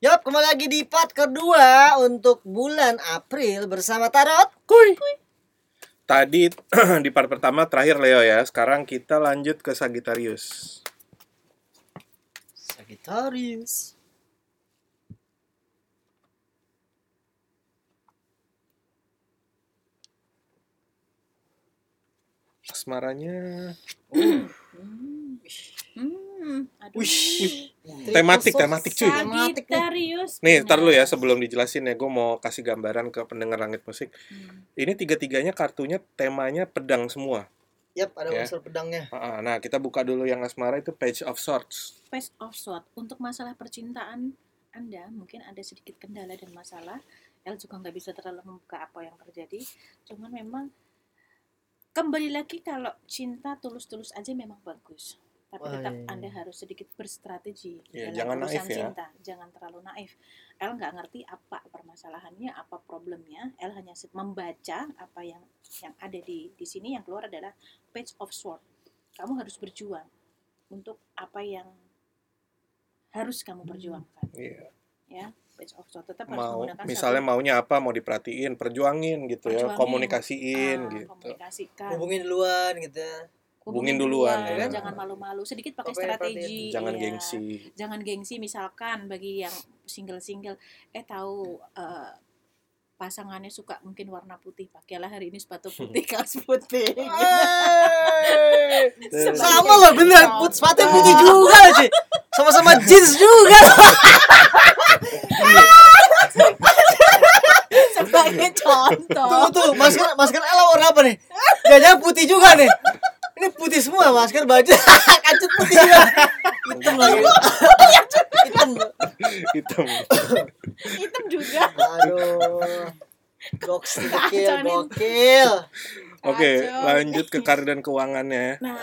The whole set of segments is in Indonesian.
Kembali lagi di part kedua untuk bulan April bersama Tarot. Kuy. Tadi di part pertama terakhir Leo ya. Sekarang kita lanjut ke Sagittarius. Sagittarius. Asmaranya Hmm, aduh. Ya, tematik tematik cuy. Sagittarius. Nih, ntar lu ya Benar. sebelum dijelasin ya, gue mau kasih gambaran ke pendengar langit musik. Hmm. Ini tiga-tiganya kartunya temanya pedang semua. Yap, ada Ya. unsur pedangnya. Ah, ah, Iya. Nah, kita buka dulu yang asmara itu Page of Swords. Face of Sword. Untuk masalah percintaan Anda mungkin ada sedikit kendala dan masalah. El juga nggak bisa terlalu membuka apa yang terjadi. Cuman memang kembali lagi kalau cinta tulus-tulus aja memang bagus. Tapi Wah, tetap iya, iya. Anda harus sedikit berstrategi Iya, dalam jangan urusan naif ya. cinta. Jangan terlalu naif. El nggak ngerti apa permasalahannya, apa problemnya. El hanya se- membaca apa yang yang ada di di sini yang keluar adalah page of sword. Kamu harus berjuang untuk apa yang harus kamu perjuangkan. Iya. Page of sword tetap Hmm. harus Mau menggunakan misalnya satu- maunya apa, mau diperhatiin, perjuangin gitu ya, Perjuangin. komunikasiin Ah, gitu. komunikasikan. Hubungin duluan gitu ya. Hubungin duluan, ya. Jangan malu-malu, sedikit pakai Pokoknya pakai- strategi. Jangan iya. gengsi. jangan gengsi misalkan bagi yang single-single eh tahu eh, pasangannya suka mungkin warna putih pakailah hari ini sepatu putih kaos putih Hey. Iya, Sebagai- Sama loh bener, put sepatu putih juga sih. Sama-sama jeans juga. sebagai Tuh contoh tuh, masker masker Ella warna apa nih? Jangan putih juga nih. Ini putih semua masker baju. Kancut putih juga. Hitam lagi. Hitam. Hitam. hitam juga Aduh. Goks gokil, Kaconin. gokil. Oke, Kacau. lanjut ke karir dan keuangannya. ya. nah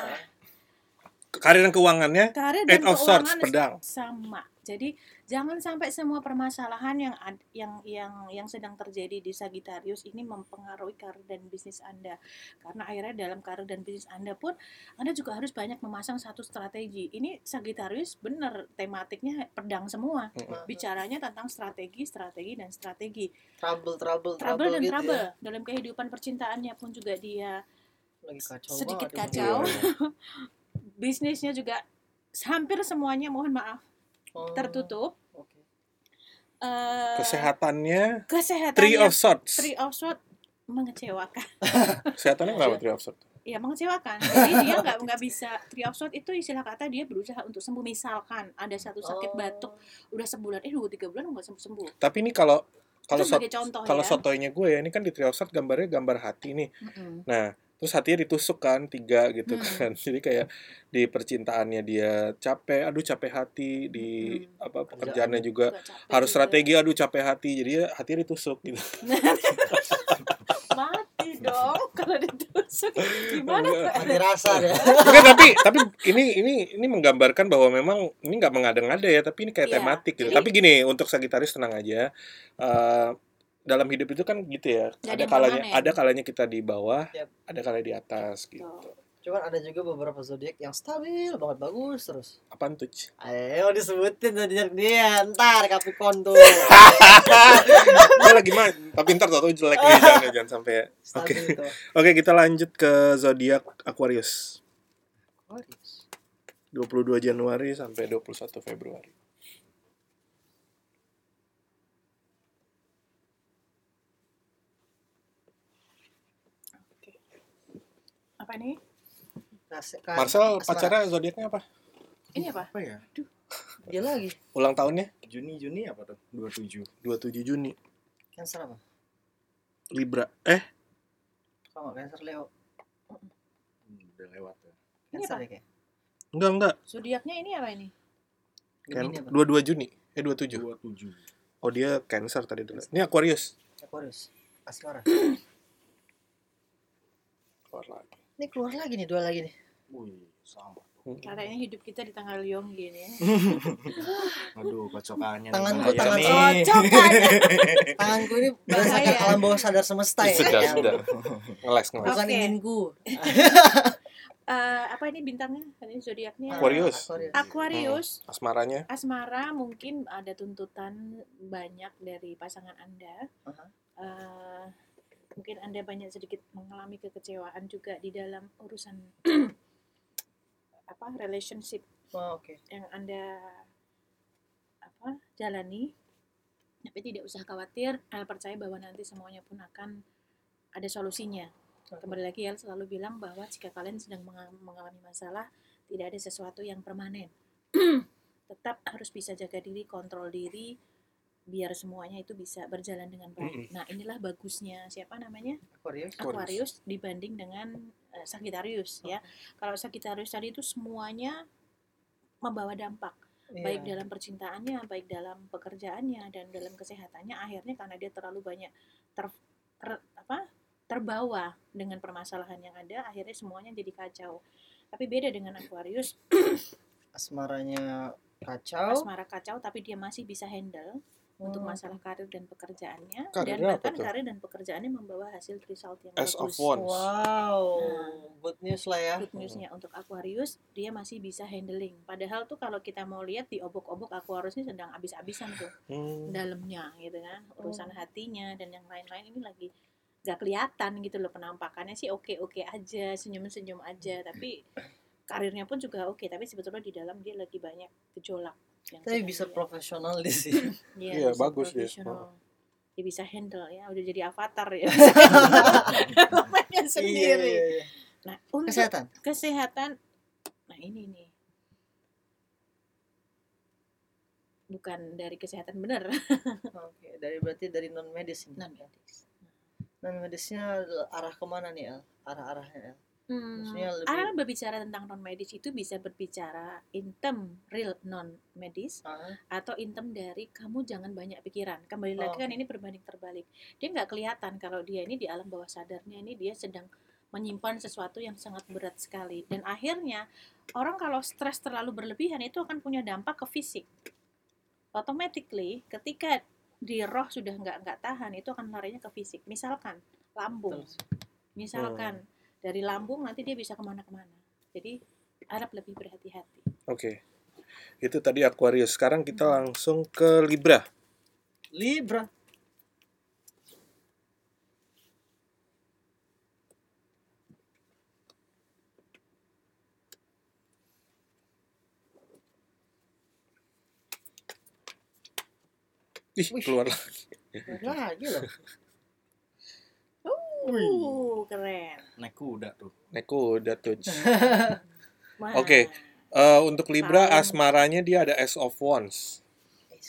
Karir dan keuangannya karir dan Eight of Swords keuangan pedang. sama. Jadi jangan sampai semua permasalahan yang ad- yang yang yang sedang terjadi di Sagittarius ini mempengaruhi karir dan bisnis Anda. Karena akhirnya dalam karir dan bisnis Anda pun Anda juga harus banyak memasang satu strategi. Ini Sagittarius bener tematiknya pedang semua. Bicaranya tentang strategi, strategi dan strategi. Trouble, trouble, trouble, Trouble dan gitu trouble ya. dalam kehidupan percintaannya pun juga dia Lagi kacau sedikit banget kacau. bisnisnya juga hampir semuanya mohon maaf ini. Oh, Hmm. tertutup. oke. Eh, Kesehatannya kesehatan Three of Swords. Three of Swords mengecewakan Kesehatannya kenapa Three of Swords? ya mengecewakan jadi dia nggak nggak bisa Three of Swords itu istilah kata dia berusaha untuk sembuh misalkan ada satu sakit Oh. batuk udah sebulan eh dua tiga bulan nggak sembuh sembuh Tapi ini kalau kalau itu sot- sebagai contoh kalau ya sotoynya gue ya ini kan di Three of Swords gambarnya gambar hati nih. Mm-mm. Nah, terus hatinya ditusuk kan tiga gitu Hmm. kan. Jadi kayak di percintaannya dia capek, aduh capek hati di Hmm. apa pekerjaannya juga Nggak capek harus juga. strategi aduh capek hati. Jadi ya hatinya ditusuk Iya. gitu. mati dong kalau ditusuk gimana tuh? Mati rasa ya. deh. Enggak, tapi tapi ini ini ini menggambarkan bahwa memang ini nggak mengada-ngada ya, tapi ini kayak Iya, tematik gitu. jadi- tapi gini, untuk Sagitarius tenang aja. Eh dalam hidup itu kan gitu ya. Nggak ada ada yang kalanya permanen. ada kalanya kita di bawah, Yap. ada kalanya di atas gitu. Tuh. Cuman ada juga beberapa zodiak yang stabil banget bagus terus. Apaan tuh? Ci? Ayo disebutin zodiak dia. Ntar Capricorn tuh. Gue lagi main, tapi ntar tau jelek nih, jangan, jangan sampai. ya. Oke. Stabil tuh. Oke, kita lanjut ke zodiak Aquarius. Aquarius. 22 Januari sampai 21 Februari. apa ini Nah, se- kan- Marcel Asmara. pacarnya zodiaknya apa? ini apa apa ya Dia lagi. Ulang tahunnya Juni Juni apa tuh 27 27 Juni. Cancer apa? Libra. Eh, Kamu Cancer Leo. Hmm, udah lewat ya Ini Cancer apa? ya kayak. enggak enggak. zodiaknya ini apa ini Kan Gemini apa? 22 Juni. Eh 27. 27 Oh dia Cancer tadi dulu. Ini Aquarius. Aquarius. Asmara. Keluar lagi. Ini keluar lagi nih dua lagi nih. wih sama katanya hidup kita di tanggal Yong gini aduh kocokannya Tanganku, bahaya tangan nih. saya. cocok kan? Eh. Tanganku ini berdasarkan Bahaya. alam bawah sadar semesta ya. Sudah, sudah. Ngeles, ngeles. Bukan Oke. inginku. eh, apa ini bintangnya? Ini Iya. zodiaknya Aquarius. Aquarius. Aquarius. Asmaranya Asmara mungkin ada tuntutan banyak dari pasangan Anda. Aha. Eh, mungkin Anda banyak sedikit mengalami kekecewaan juga di dalam urusan apa relationship Oh, oke. yang Anda apa jalani. Tapi tidak usah khawatir, El percaya bahwa nanti semuanya pun akan ada solusinya. Kembali lagi El selalu bilang bahwa jika kalian sedang menga- mengalami masalah, tidak ada sesuatu yang permanen. Tetap harus bisa jaga diri, kontrol diri biar semuanya itu bisa berjalan dengan baik. Nah, inilah bagusnya siapa namanya? Aquarius. Aquarius dibanding dengan eh, Sagittarius Oh. ya. Kalau Sagittarius tadi itu semuanya membawa dampak Iya. baik dalam percintaannya, baik dalam pekerjaannya dan dalam kesehatannya akhirnya karena dia terlalu banyak ter, ter- apa terbawa dengan permasalahan yang ada akhirnya semuanya jadi kacau. Tapi beda dengan Aquarius, asmaranya kacau. asmara kacau tapi dia masih bisa handle untuk Hmm. masalah karir dan pekerjaannya dan Oh. Karirnya apa bahkan tuh? karir dan pekerjaannya membawa hasil result yang As of bagus. Wands. Wow, Nah. good news lah ya. good newsnya untuk Aquarius dia masih bisa handling padahal tuh kalau kita mau lihat di obok-obok Aquarius ini sedang abis-abisan tuh Hmm. dalamnya gitu kan urusan Oh. hatinya dan yang lain-lain ini lagi gak kelihatan gitu loh penampakannya sih oke-oke aja senyum-senyum aja tapi karirnya pun juga oke tapi sebetulnya di dalam dia lagi banyak gejolak yang Tapi sedang bisa dia- profesional di sini. Iya, Iya, bisa bagus dia. profesional. dia bisa handle ya udah jadi avatar ya Namanya sendiri Iya, iya, iya. nah untuk Kesehatan. kesehatan nah ini nih bukan dari kesehatan bener Oke, dari berarti dari non medis nih. non medis Non medisnya arah kemana nih El? Arah-arahnya El. hmm, Maksudnya lebih- Ara berbicara tentang non medis itu bisa berbicara intem real non medis Ah, atau intem dari kamu jangan banyak pikiran kembali lagi Oh. kan ini berbanding terbalik dia nggak kelihatan kalau dia ini di alam bawah sadarnya ini dia sedang menyimpan sesuatu yang sangat berat sekali dan akhirnya orang kalau stres terlalu berlebihan itu akan punya dampak ke fisik automatically ketika di roh sudah nggak nggak tahan itu akan larinya ke fisik misalkan lambung terus. misalkan dari lambung nanti dia bisa kemana-kemana jadi harap lebih berhati-hati Oke. Itu tadi Aquarius. Sekarang kita langsung ke Libra. Libra. Ih, Wih. keluar lah. Lagi loh. Wih, uh keren naik kuda tuh. Naik kuda tuh. Wah. Oke. Eh, untuk Libra Tahu. asmaranya dia ada S of Wands. Eh,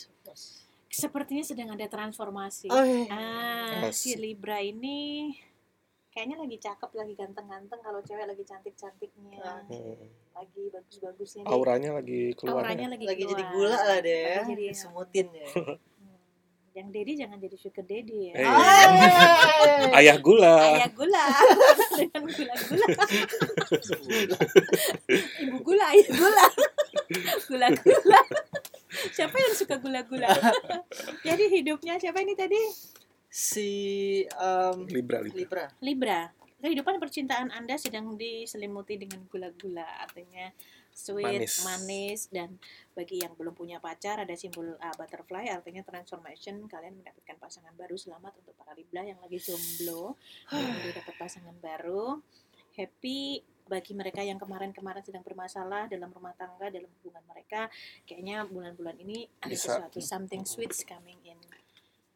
Sepertinya sedang ada transformasi. Oke. Ah, Yes. si Libra ini kayaknya lagi cakep, lagi ganteng-ganteng. Kalau cewek lagi cantik-cantiknya, Hmm. lagi bagus-bagusnya. deh. Auranya lagi keluar. Auranya lagi, Lagi jadi keluar. gula lah deh. Lagi jadi Jadi semutin ya. Hmm. Yang Dedi jangan jadi sugar daddy ya. Oh, Eh. Hey. Ayah gula. Ayah gula dengan gula-gula. Ibu gula, ayah gula. Gula-gula. Siapa yang suka gula-gula? Jadi hidupnya siapa ini tadi? Si um, Libra, Libra. Libra. Libra, kehidupan percintaan Anda sedang diselimuti dengan gula-gula, artinya sweet, Manis. manis. dan bagi yang belum punya pacar ada simbol ah, butterfly, artinya transformation. Kalian mendapatkan pasangan baru. Selamat untuk para Libra yang lagi jomblo, yang baru dapat pasangan baru. Happy bagi mereka yang kemarin-kemarin sedang bermasalah dalam rumah tangga, dalam hubungan mereka, kayaknya bulan-bulan ini ada Bisa. sesuatu something sweet coming in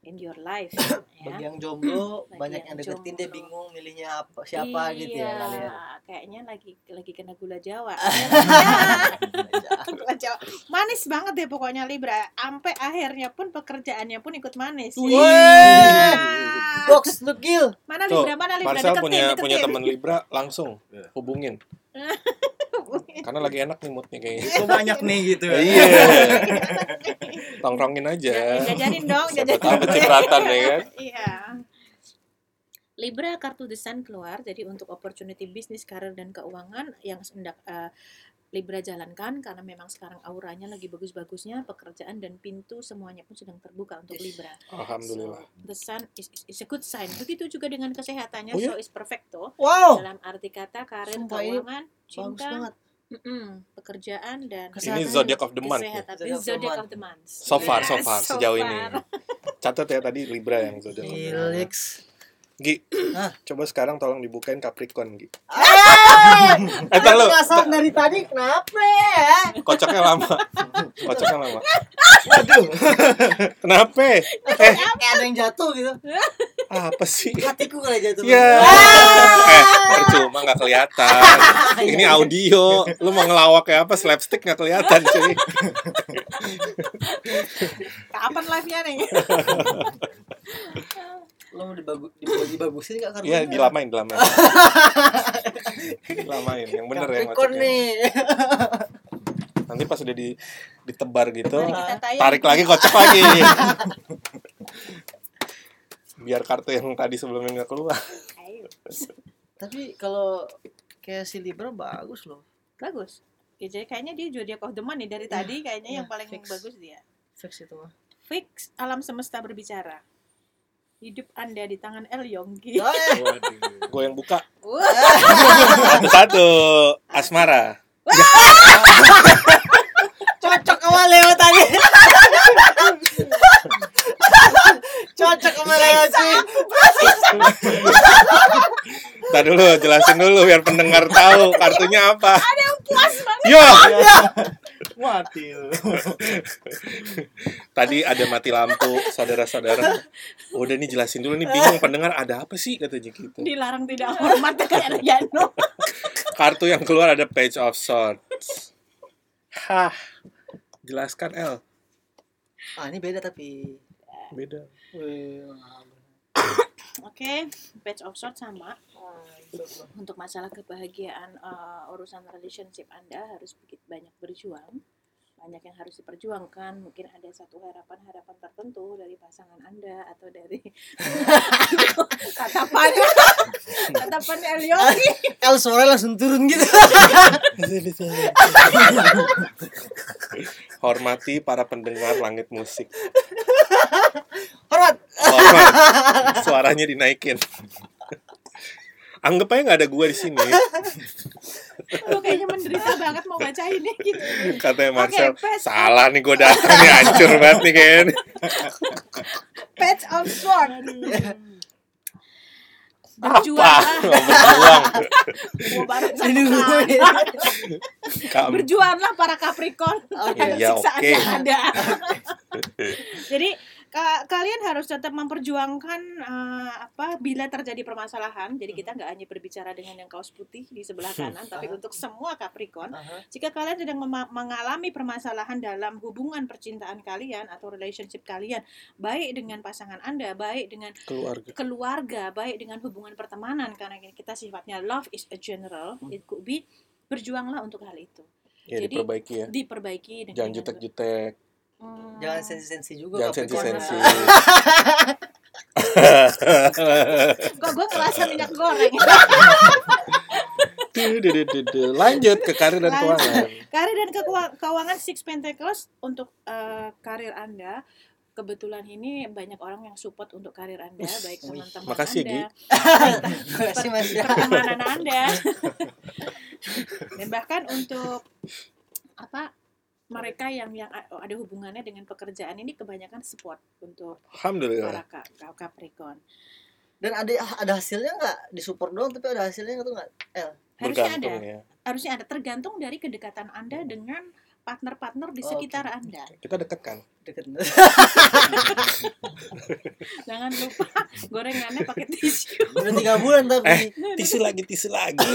in your life. ya. Bagi yang jomblo, Bagi banyak yang yang deketin dia jomblo. Iya. bingung milihnya apa, siapa gitu ya kalian. Kayaknya lagi lagi kena gula Jawa. Ya, gula Jawa. Manis banget deh pokoknya Libra. Sampai akhirnya pun pekerjaannya pun ikut manis. Wih. Wah. Box nukil. Mana Tuh, Libra? Mana Libra? Marcel Deketin, punya punya deketin. teman Libra langsung hubungin karena lagi enak nih moodnya kayaknya. Kok banyak nih gitu. Iya. Tongkrongin aja. Jangan Jajarin dong, Iya. Siapa tahu jajarin. kecipratan ya kan. Iya. Libra kartu desain keluar, jadi untuk opportunity bisnis, karir dan keuangan yang hendak eh, Libra jalankan karena memang sekarang auranya lagi bagus-bagusnya, pekerjaan dan pintu semuanya pun sedang terbuka untuk Libra. Alhamdulillah. So, the sun is, is, is a good sign. Begitu juga dengan kesehatannya, Oh, iya? so is perfecto. Wow, Dalam arti kata Sumpah, karir, ya? ini keuangan, bagus cinta, banget. mm-mm, pekerjaan dan Ini Kesehatan. zodiak of the month. ya. kesehatan. Zodiac Ini of the zodiac month. of the month. So far, so Yes, far so sejauh ini. far. Iya. Catat ya tadi Libra yang zodiak of the month. Felix. Gi, Hah? coba sekarang tolong dibukain Capricorn, Gi. Ah! Eh, Ada tar lu. perasaan dari tadi kenapa ya? Kocoknya lama. Kocoknya lama. Waduh, Kenapa? Eh, kayak ada yang jatuh gitu. apa sih? Hatiku kali jatuh. Ya. Eh, percuma nggak kelihatan. Ini audio. Lu mau ngelawak kayak apa? Slapstick nggak kelihatan cuy. Kapan live-nya nih? Lo mau dibagu- dibagu- dibagusin gak karena? Iya, dilamain, dilamain. dilamain. Yang bener ya Capricorn kocoknya. nih. Nanti pas udah di, ditebar gitu, Mari kita tayang. tarik lagi kocok lagi. Biar kartu yang tadi sebelumnya nggak keluar. Ayo. Tapi kalau kayak si Libra bagus loh. Bagus. Ya, jadi kayaknya dia zodiak of the month nih dari tadi kayaknya iya, yang paling fix. bagus dia. Fix itu mah. Fix alam semesta berbicara. Hidup Anda di tangan El Yonggi. Oh, eh. Waduh. Gue yang buka. Wah, Satu-satu. Asmara. Cocok sama Leo tadi. Cocok sama Leo sih. Ntar dulu, jelasin dulu biar pendengar tahu kartunya apa. Ada yang puas banget. Yo, Iya. Mati lu. tadi ada mati lampu, saudara-saudara. Udah nih jelasin dulu nih bingung pendengar ada apa sih katanya gitu. dilarang tidak hormat kayak Regano. Kartu yang keluar ada page of swords. Hah. Jelaskan L. Ah, ini beda tapi. Beda. Wih, Oke, Page of Swords sama. Untuk masalah kebahagiaan eh, urusan relationship Anda harus begitu banyak berjuang. Banyak yang harus diperjuangkan. Mungkin ada satu harapan-harapan tertentu dari pasangan Anda atau dari tatapan tatapan El Yonggi. El suara langsung turun gitu. Hormati para pendengar langit musik. Hormat. Hormat. Suaranya dinaikin. Anggap aja nggak ada gua di sini. Lu kayaknya menderita banget mau baca ini gitu. Katanya Marcel, Oke, page- salah nih gua datang nih hancur banget nih kayaknya. Page of Swords. Apa? Berjuanglah. Berjuang. Gua banget sama Aduh. kamu. Kamu. Berjuanglah para Capricorn. terhadap Iya, siksaan oke. yang ada. Jadi ka- kalian harus tetap memperjuangkan eh, apa bila terjadi permasalahan. Jadi kita nggak hanya berbicara dengan yang kaos putih di sebelah kanan, tapi untuk semua Capricorn. Jika kalian sedang mema- mengalami permasalahan dalam hubungan percintaan kalian atau relationship kalian, baik dengan pasangan Anda, baik dengan Keluarga. keluarga, baik dengan hubungan pertemanan, karena kita sifatnya love is a general, Hmm. it could be, berjuanglah untuk hal itu. Ya Jadi- diperbaiki ya. Diperbaiki dengan... Jangan jutek-jutek, Hmm. Jangan sensi-sensi juga. jangan Capricorn. sensi-sensi. Kok gue kerasa minyak goreng? Tududududu. Lanjut ke karir dan Lanjut. keuangan. karir dan kekua- keuangan Six Pentacles untuk eh, karir Anda. Kebetulan ini banyak orang yang support untuk karir Anda, baik wih. teman-teman Makasih ya, Anda, Makasih Mas. pertemanan Anda, dan bahkan untuk apa mereka yang yang a- oh, ada hubungannya dengan pekerjaan ini kebanyakan support untuk Alhamdulillah. para Ka- Ka- Capricorn. Dan ada ada hasilnya nggak? Di support doang tapi ada hasilnya nggak tuh nggak? Harusnya Bergantung ada, ya. harusnya ada tergantung dari kedekatan Anda dengan partner-partner di Oh, Oke. sekitar Anda. Kita deket kan? Deket. Jangan lupa gorengannya pakai tisu. Udah tiga bulan Eh. tapi. Tisu lagi, tisu lagi.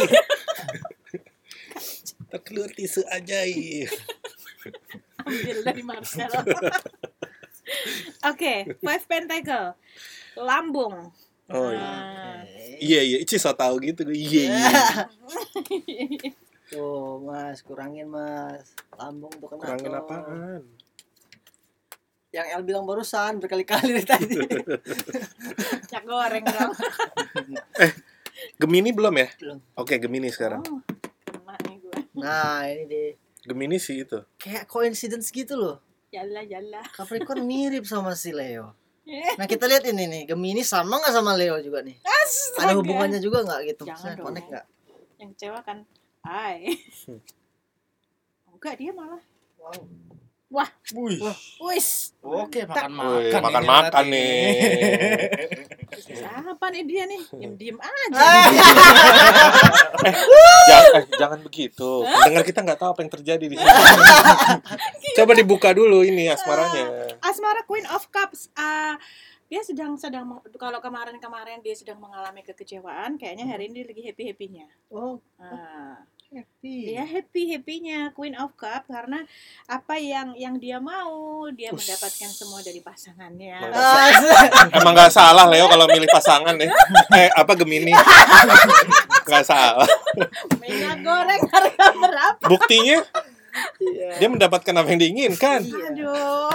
Terkeluar tisu ajaib. Ambil dari Marcel. Oke, Five Pentacle. Lambung. Oh iya. Nah, Iya iya, Ici so tau gitu. Iya iya. Tuh mas, kurangin mas. Lambung tuh kena. Kurangin tuh. apaan? Yang El bilang barusan berkali-kali dari tadi. minyak goreng dong. Gemini belum ya? Belum. Oke, Gemini sekarang. Oh, kena nih gue. Nah, ini deh. Gemini sih itu. Kayak coincidence gitu loh. Yalah, yalah. Capricorn mirip sama si Leo. Eh. Nah, kita lihat ini nih, Gemini sama nggak sama Leo juga nih? Ada Astaga. hubungannya juga nggak gitu? Jangan Maksudnya dong. connect nggak? Yang kecewa kan, ay. Enggak, dia malah. Wow. Wih. Wis, Oke, Wih, makan-makan. makan-makan nih. bisnis apa nih dia nih? Diem-diem aja. Ah, jangan, eh, jangan begitu. Dengar kita nggak tahu apa yang terjadi di sini. Coba dibuka dulu ini asmaranya. Asmara Queen of Cups. ah, dia sedang sedang meng- kalau kemarin-kemarin dia sedang mengalami kekecewaan, kayaknya hari ini dia lagi happy-happynya. Hmm. Oh, iya. Ah, happy. dia happy-happynya Queen of Cup karena apa yang yang dia mau, dia Ush. mendapatkan semua dari pasangannya. Mantap. Ah, se- Emang nggak salah Leo kalau milih pasangan ya. Eh apa Gemini? Nggak salah. Minyak goreng harga berapa? Buktinya Iya. dia mendapatkan apa yang diinginkan. Iya. Aduh.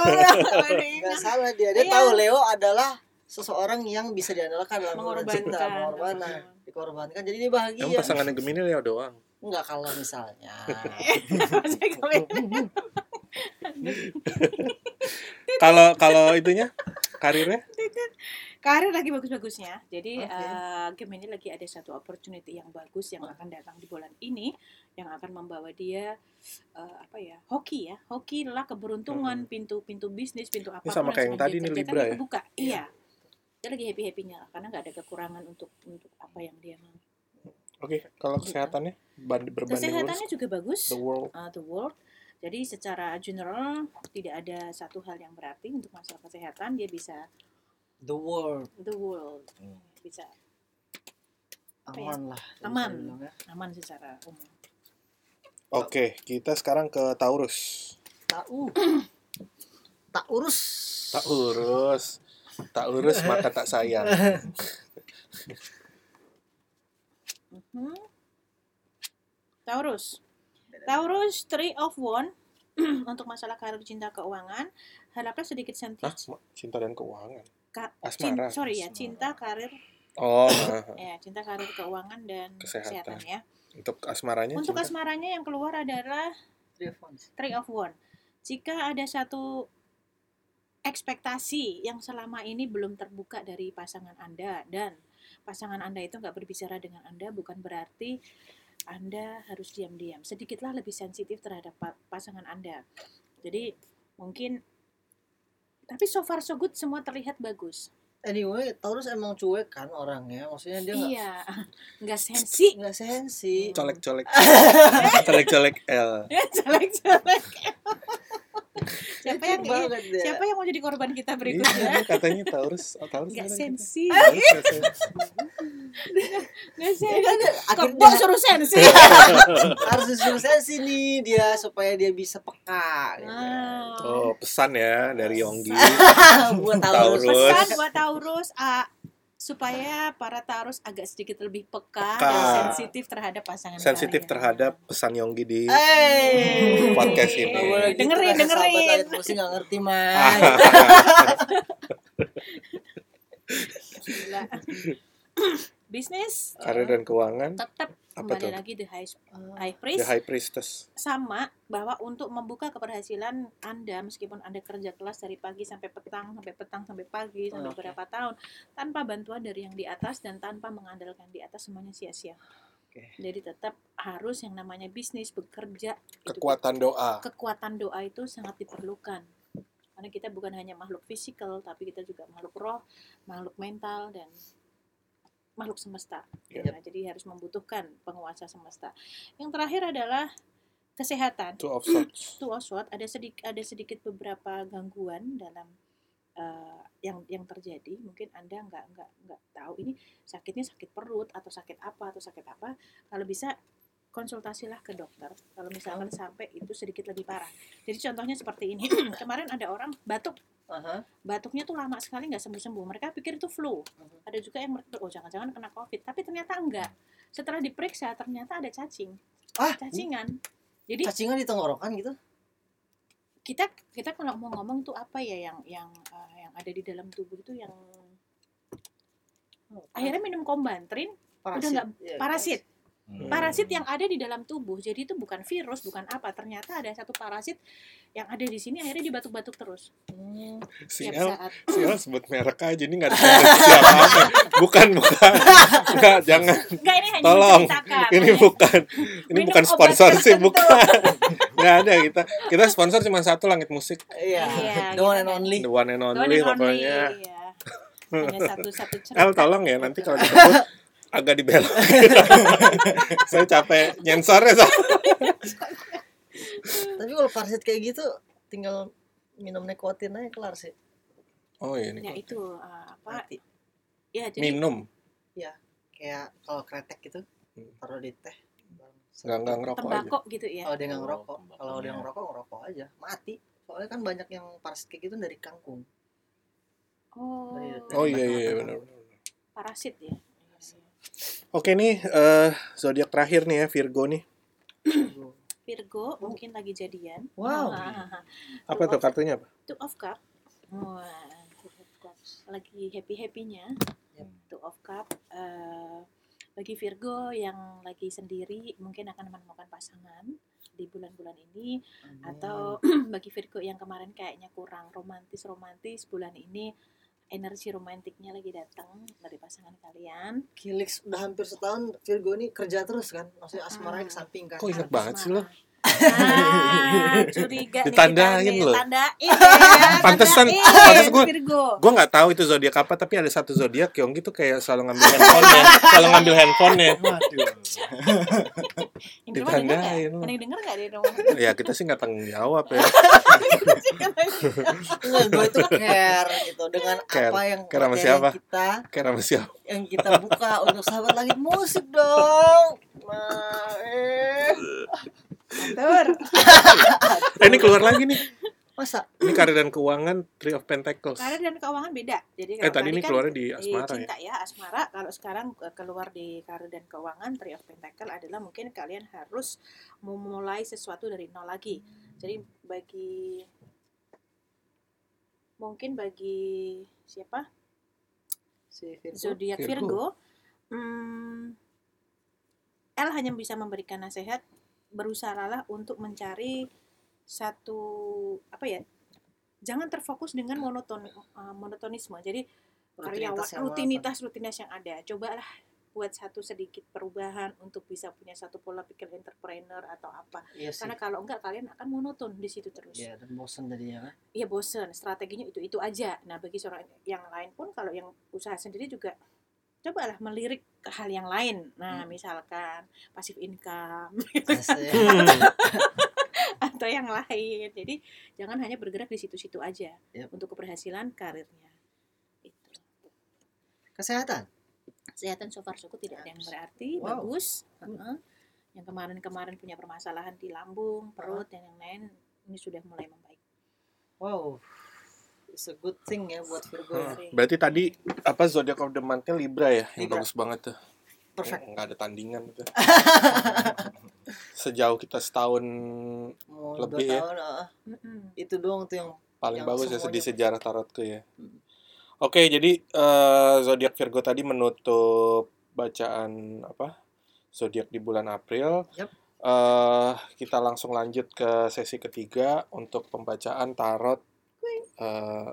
Nggak salah dia. Dia Iya. tahu Leo adalah seseorang yang bisa diandalkan dalam hubungan cinta, Mengorbankan. mengorbankan, dikorbankan. Jadi dia bahagia. Emang pasangannya Gemini Leo doang. Enggak kalau misalnya. Maksudnya kami- Kalau kalau itunya karirnya gitu kan. Karir lagi bagus-bagusnya. Jadi Oke. eh, game ini lagi ada satu opportunity yang bagus Oh. yang akan datang di bulan ini yang akan membawa dia eh, apa ya? Hoki ya. Hoki lah keberuntungan, pintu-pintu bisnis, pintu apa sama kayak yang tadi nih, Libra ya? Kebuka. Iya. Dia lagi happy-happynya lah, karena nggak ada kekurangan untuk untuk apa yang dia mau. Oke, kalau kesehatannya band- berbanding lurus Kesehatannya juga bagus. the world. uh, the world. Jadi secara general tidak ada satu hal yang berarti untuk masalah kesehatan dia bisa The world the world Hmm. bisa ya? aman lah. Aman. Bisa dibilang ya. aman secara umum. Oke, kita sekarang ke Taurus. Tak u. tak urus. Taurus. Taurus maka tak sayang. Mhm. Taurus. Taurus Three of Wand untuk masalah karir cinta keuangan harapnya sedikit sentis. Hah? Nah, Cinta dan keuangan. Ka- cin- Ah, Asmara. sorry ya Asmara. cinta karir Oh, nah. ya cinta karir keuangan dan Kesehatan. kesehatan, ya. untuk asmaranya. Untuk cinta. asmaranya yang keluar adalah Three of Wands. Jika ada satu ekspektasi yang selama ini belum terbuka dari pasangan Anda dan pasangan Anda itu nggak berbicara dengan Anda bukan berarti Anda harus diam-diam. Sedikitlah lebih sensitif terhadap pa- pasangan Anda. Jadi mungkin tapi so far so good semua terlihat bagus. Anyway, Taurus emang cuek kan orangnya. Maksudnya dia nggak iya, nggak sensi. nggak sensi. colek-colek. colek-colek L. Jelek-jelek. siapa yang Cuek banget dia. siapa yang mau jadi korban Iya, kita berikutnya? dia katanya Taurus, oh, Taurus. Nggak kan? sensi. Taurus nggak sensi. Nggak Ya sensi. kan, dia- Kok akhirnya suruh sensi? harus disuruh sensi nih dia supaya dia bisa peka. gitu. Ah. Wow. Oh, pesan ya dari Yonggi. Buat Taurus. Taurus. Pesan buat Taurus ah, supaya para Taurus agak sedikit lebih peka, dan Peka. sensitif terhadap pasangan Sensitif kalian. terhadap pesan Yonggi di Hey. Podcast ini. Nggak boleh gitu, Dengerin, rasa dengerin. sahabat alit Musik nggak ngerti mas. Eh. Ah, Iya, Gila. bisnis karir dan keuangan. tetap Apa tuh? kembali lagi the high, Oh. high The priest High Priestess. sama bahwa untuk membuka keberhasilan Anda meskipun Anda kerja kelas dari pagi sampai petang sampai petang sampai pagi sampai Oke. berapa tahun tanpa bantuan dari yang di atas dan tanpa mengandalkan di atas semuanya sia-sia. Oke. Jadi tetap harus yang namanya bisnis bekerja itu- Kekuatan doa. kekuatan doa itu sangat diperlukan. Karena kita bukan hanya makhluk fisikal tapi kita juga makhluk roh, makhluk mental dan makhluk semesta. Iya. Nah, jadi harus membutuhkan penguasa semesta. Yang terakhir adalah kesehatan Two of Swords. itu Oswald ada sedikit ada sedikit beberapa gangguan dalam eh, yang yang terjadi mungkin anda nggak nggak nggak tahu ini sakitnya sakit perut atau sakit apa atau sakit apa kalau bisa konsultasilah ke dokter kalau misalkan sampai itu sedikit lebih parah jadi contohnya seperti ini kemarin ada orang batuk Aha. batuknya tuh lama sekali nggak sembuh sembuh mereka pikir itu flu Mhm. ada juga yang mereka oh jangan jangan kena covid tapi ternyata enggak setelah diperiksa ternyata ada cacing Ah. cacingan jadi Cacingan di tenggorokan gitu. kita kita kalau mau ngomong tuh apa ya yang yang eh, yang ada di dalam tubuh itu yang akhirnya minum kombantrin udah nggak Iya, parasit Hmm. parasit yang Hmm. ada di dalam tubuh. Jadi itu bukan virus, bukan apa. Ternyata ada satu parasit yang ada di sini akhirnya dibatuk-batuk terus. Si Tiap El, saat. si El sebut merek aja ini nggak ada siapa Bukan bukan, nggak jangan. Enggak ini hanya Tolong, menceritakan. ini ya. bukan, ini Minum bukan obat sponsor sih tertentu. bukan. Nggak ada kita, kita sponsor cuma satu langit musik, Iya. Iya, The one gitu and kan. only. the one and Don't only and only, pokoknya. iya. Hanya satu-satu cerita. El tolong ya nanti kalau disebut agak dibelok. Saya capek ya, nyensornya. Sa. Tapi kalau parasit kayak gitu tinggal minum nikotin aja kelar sih. Oh iya Ya ini itu eh, apa? Mati. Ya jadi minum, Kayak kalau kretek gitu Hmm. taruh di teh. nggak nggak ngerokok aja. tembakau gitu ya. Kalau dia nggak Oh, ngerokok, kalau dia iya. tembakonya. ngerokok ngerokok aja, mati. Soalnya kan banyak yang parasit kayak gitu dari kangkung. Oh. Oh iya iya benar. Parasit ya. Oke nih eh zodiak terakhir nih ya Virgo nih. Virgo Oh. mungkin lagi jadian. Wow. Ah, Apa tuh kartunya apa? Two of Cup. Wah, Two of Cups. Lagi happy-happynya. Yep. Two of Cup. eh, bagi Virgo yang lagi sendiri mungkin akan menemukan pasangan di bulan-bulan ini atau bagi Virgo yang kemarin kayaknya kurang romantis romantis bulan ini energi romantiknya lagi datang dari pasangan kalian Kilix udah hampir setahun Virgo ini kerja terus kan, maksudnya asmaranya Hmm. ke samping kan. Kok ingat banget sih lo? Ah, curiga Ditandain nih kita nih. lo. Tandain ya, Pantesan- tandain, pantes gua- Virgo Gue nggak tahu itu zodiak apa tapi ada satu zodiak Yonggi tuh kayak selalu ngambil handphonenya, selalu ngambil handphonenya. Waduh. Ini rumah denger nggak? Ditandain lo. Ada yang denger nggak di rumah? Ya kita sih nggak tanggung jawab ya. Enggak, Nah, gue itu care gitu dengan Care. apa yang Care sama materi siapa? kita Kayak sama siapa? yang kita buka untuk sahabat langit musik dong. Nah, eh. Tur. Eh, ini keluar lagi nih. Masa? Ini karir dan keuangan Three of Pentacles. Karir dan keuangan beda. Jadi Eh tadi ini kan keluarnya di di asmara ya. cinta ya. asmara. Kalau sekarang eh, keluar di karir dan keuangan, three of pentacle adalah mungkin kalian harus memulai sesuatu dari nol lagi. Jadi bagi mungkin bagi siapa Si Virgo. zodiak Virgo, Virgo. hmm, El hanya bisa memberikan nasihat berusahalah untuk mencari satu apa ya jangan terfokus dengan monoton eh, monotonisme jadi karyawan Rutinitas yang rutinitas rutinitas yang ada cobalah buat satu sedikit perubahan untuk bisa punya satu pola pikir entrepreneur atau apa Iya sih. karena kalau enggak kalian akan monoton di situ terus Iya, dan bosan jadinya kan. ya bosen strateginya itu itu aja nah bagi seorang yang lain pun kalau yang usaha sendiri juga cobalah melirik ke hal yang lain nah Hmm. misalkan pasif income gitu kan, Asik. Hmm. atau yang lain jadi jangan hanya bergerak di situ-situ aja Yap. untuk keberhasilan karirnya itu Kesehatan. kesehatan so far so good tidak ada yang berarti Wow. Hmm. bagus Heeh. yang kemarin-kemarin punya permasalahan di lambung perut dan yang lain ini sudah mulai membaik Wow. It's a good thing ya buat Virgo. ya. Hmm, Berarti tadi apa zodiak of the month-nya Libra ya, yang Libra. bagus banget tuh. Perfect. Nggak ada tandingan itu. Sejauh kita setahun Mau Lebih dua ya. tahun, ah. Mm-mm. itu doang tuh yang paling Yang bagus ya di semuanya. sejarah tarotku ya. Hmm. Oke, jadi eh, zodiak Virgo tadi menutup bacaan apa? Zodiak di bulan April. Yap. Eh, kita langsung lanjut ke sesi ketiga untuk pembacaan tarot eh,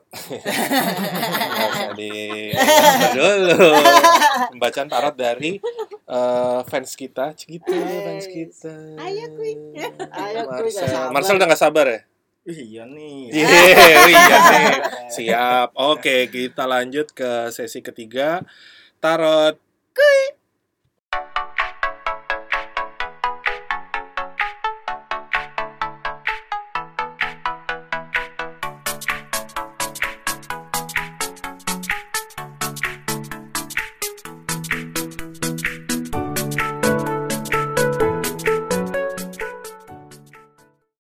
nggak usah di- dulu pembacaan tarot dari eh, fans kita gitu fans kita Ayo, Kui. Ayo, Kui, nggak Marcel sabar. Marcel udah nggak sabar ya Iya nih. Iya, iya nih. Siap. Oke, kita lanjut ke sesi ketiga. Tarot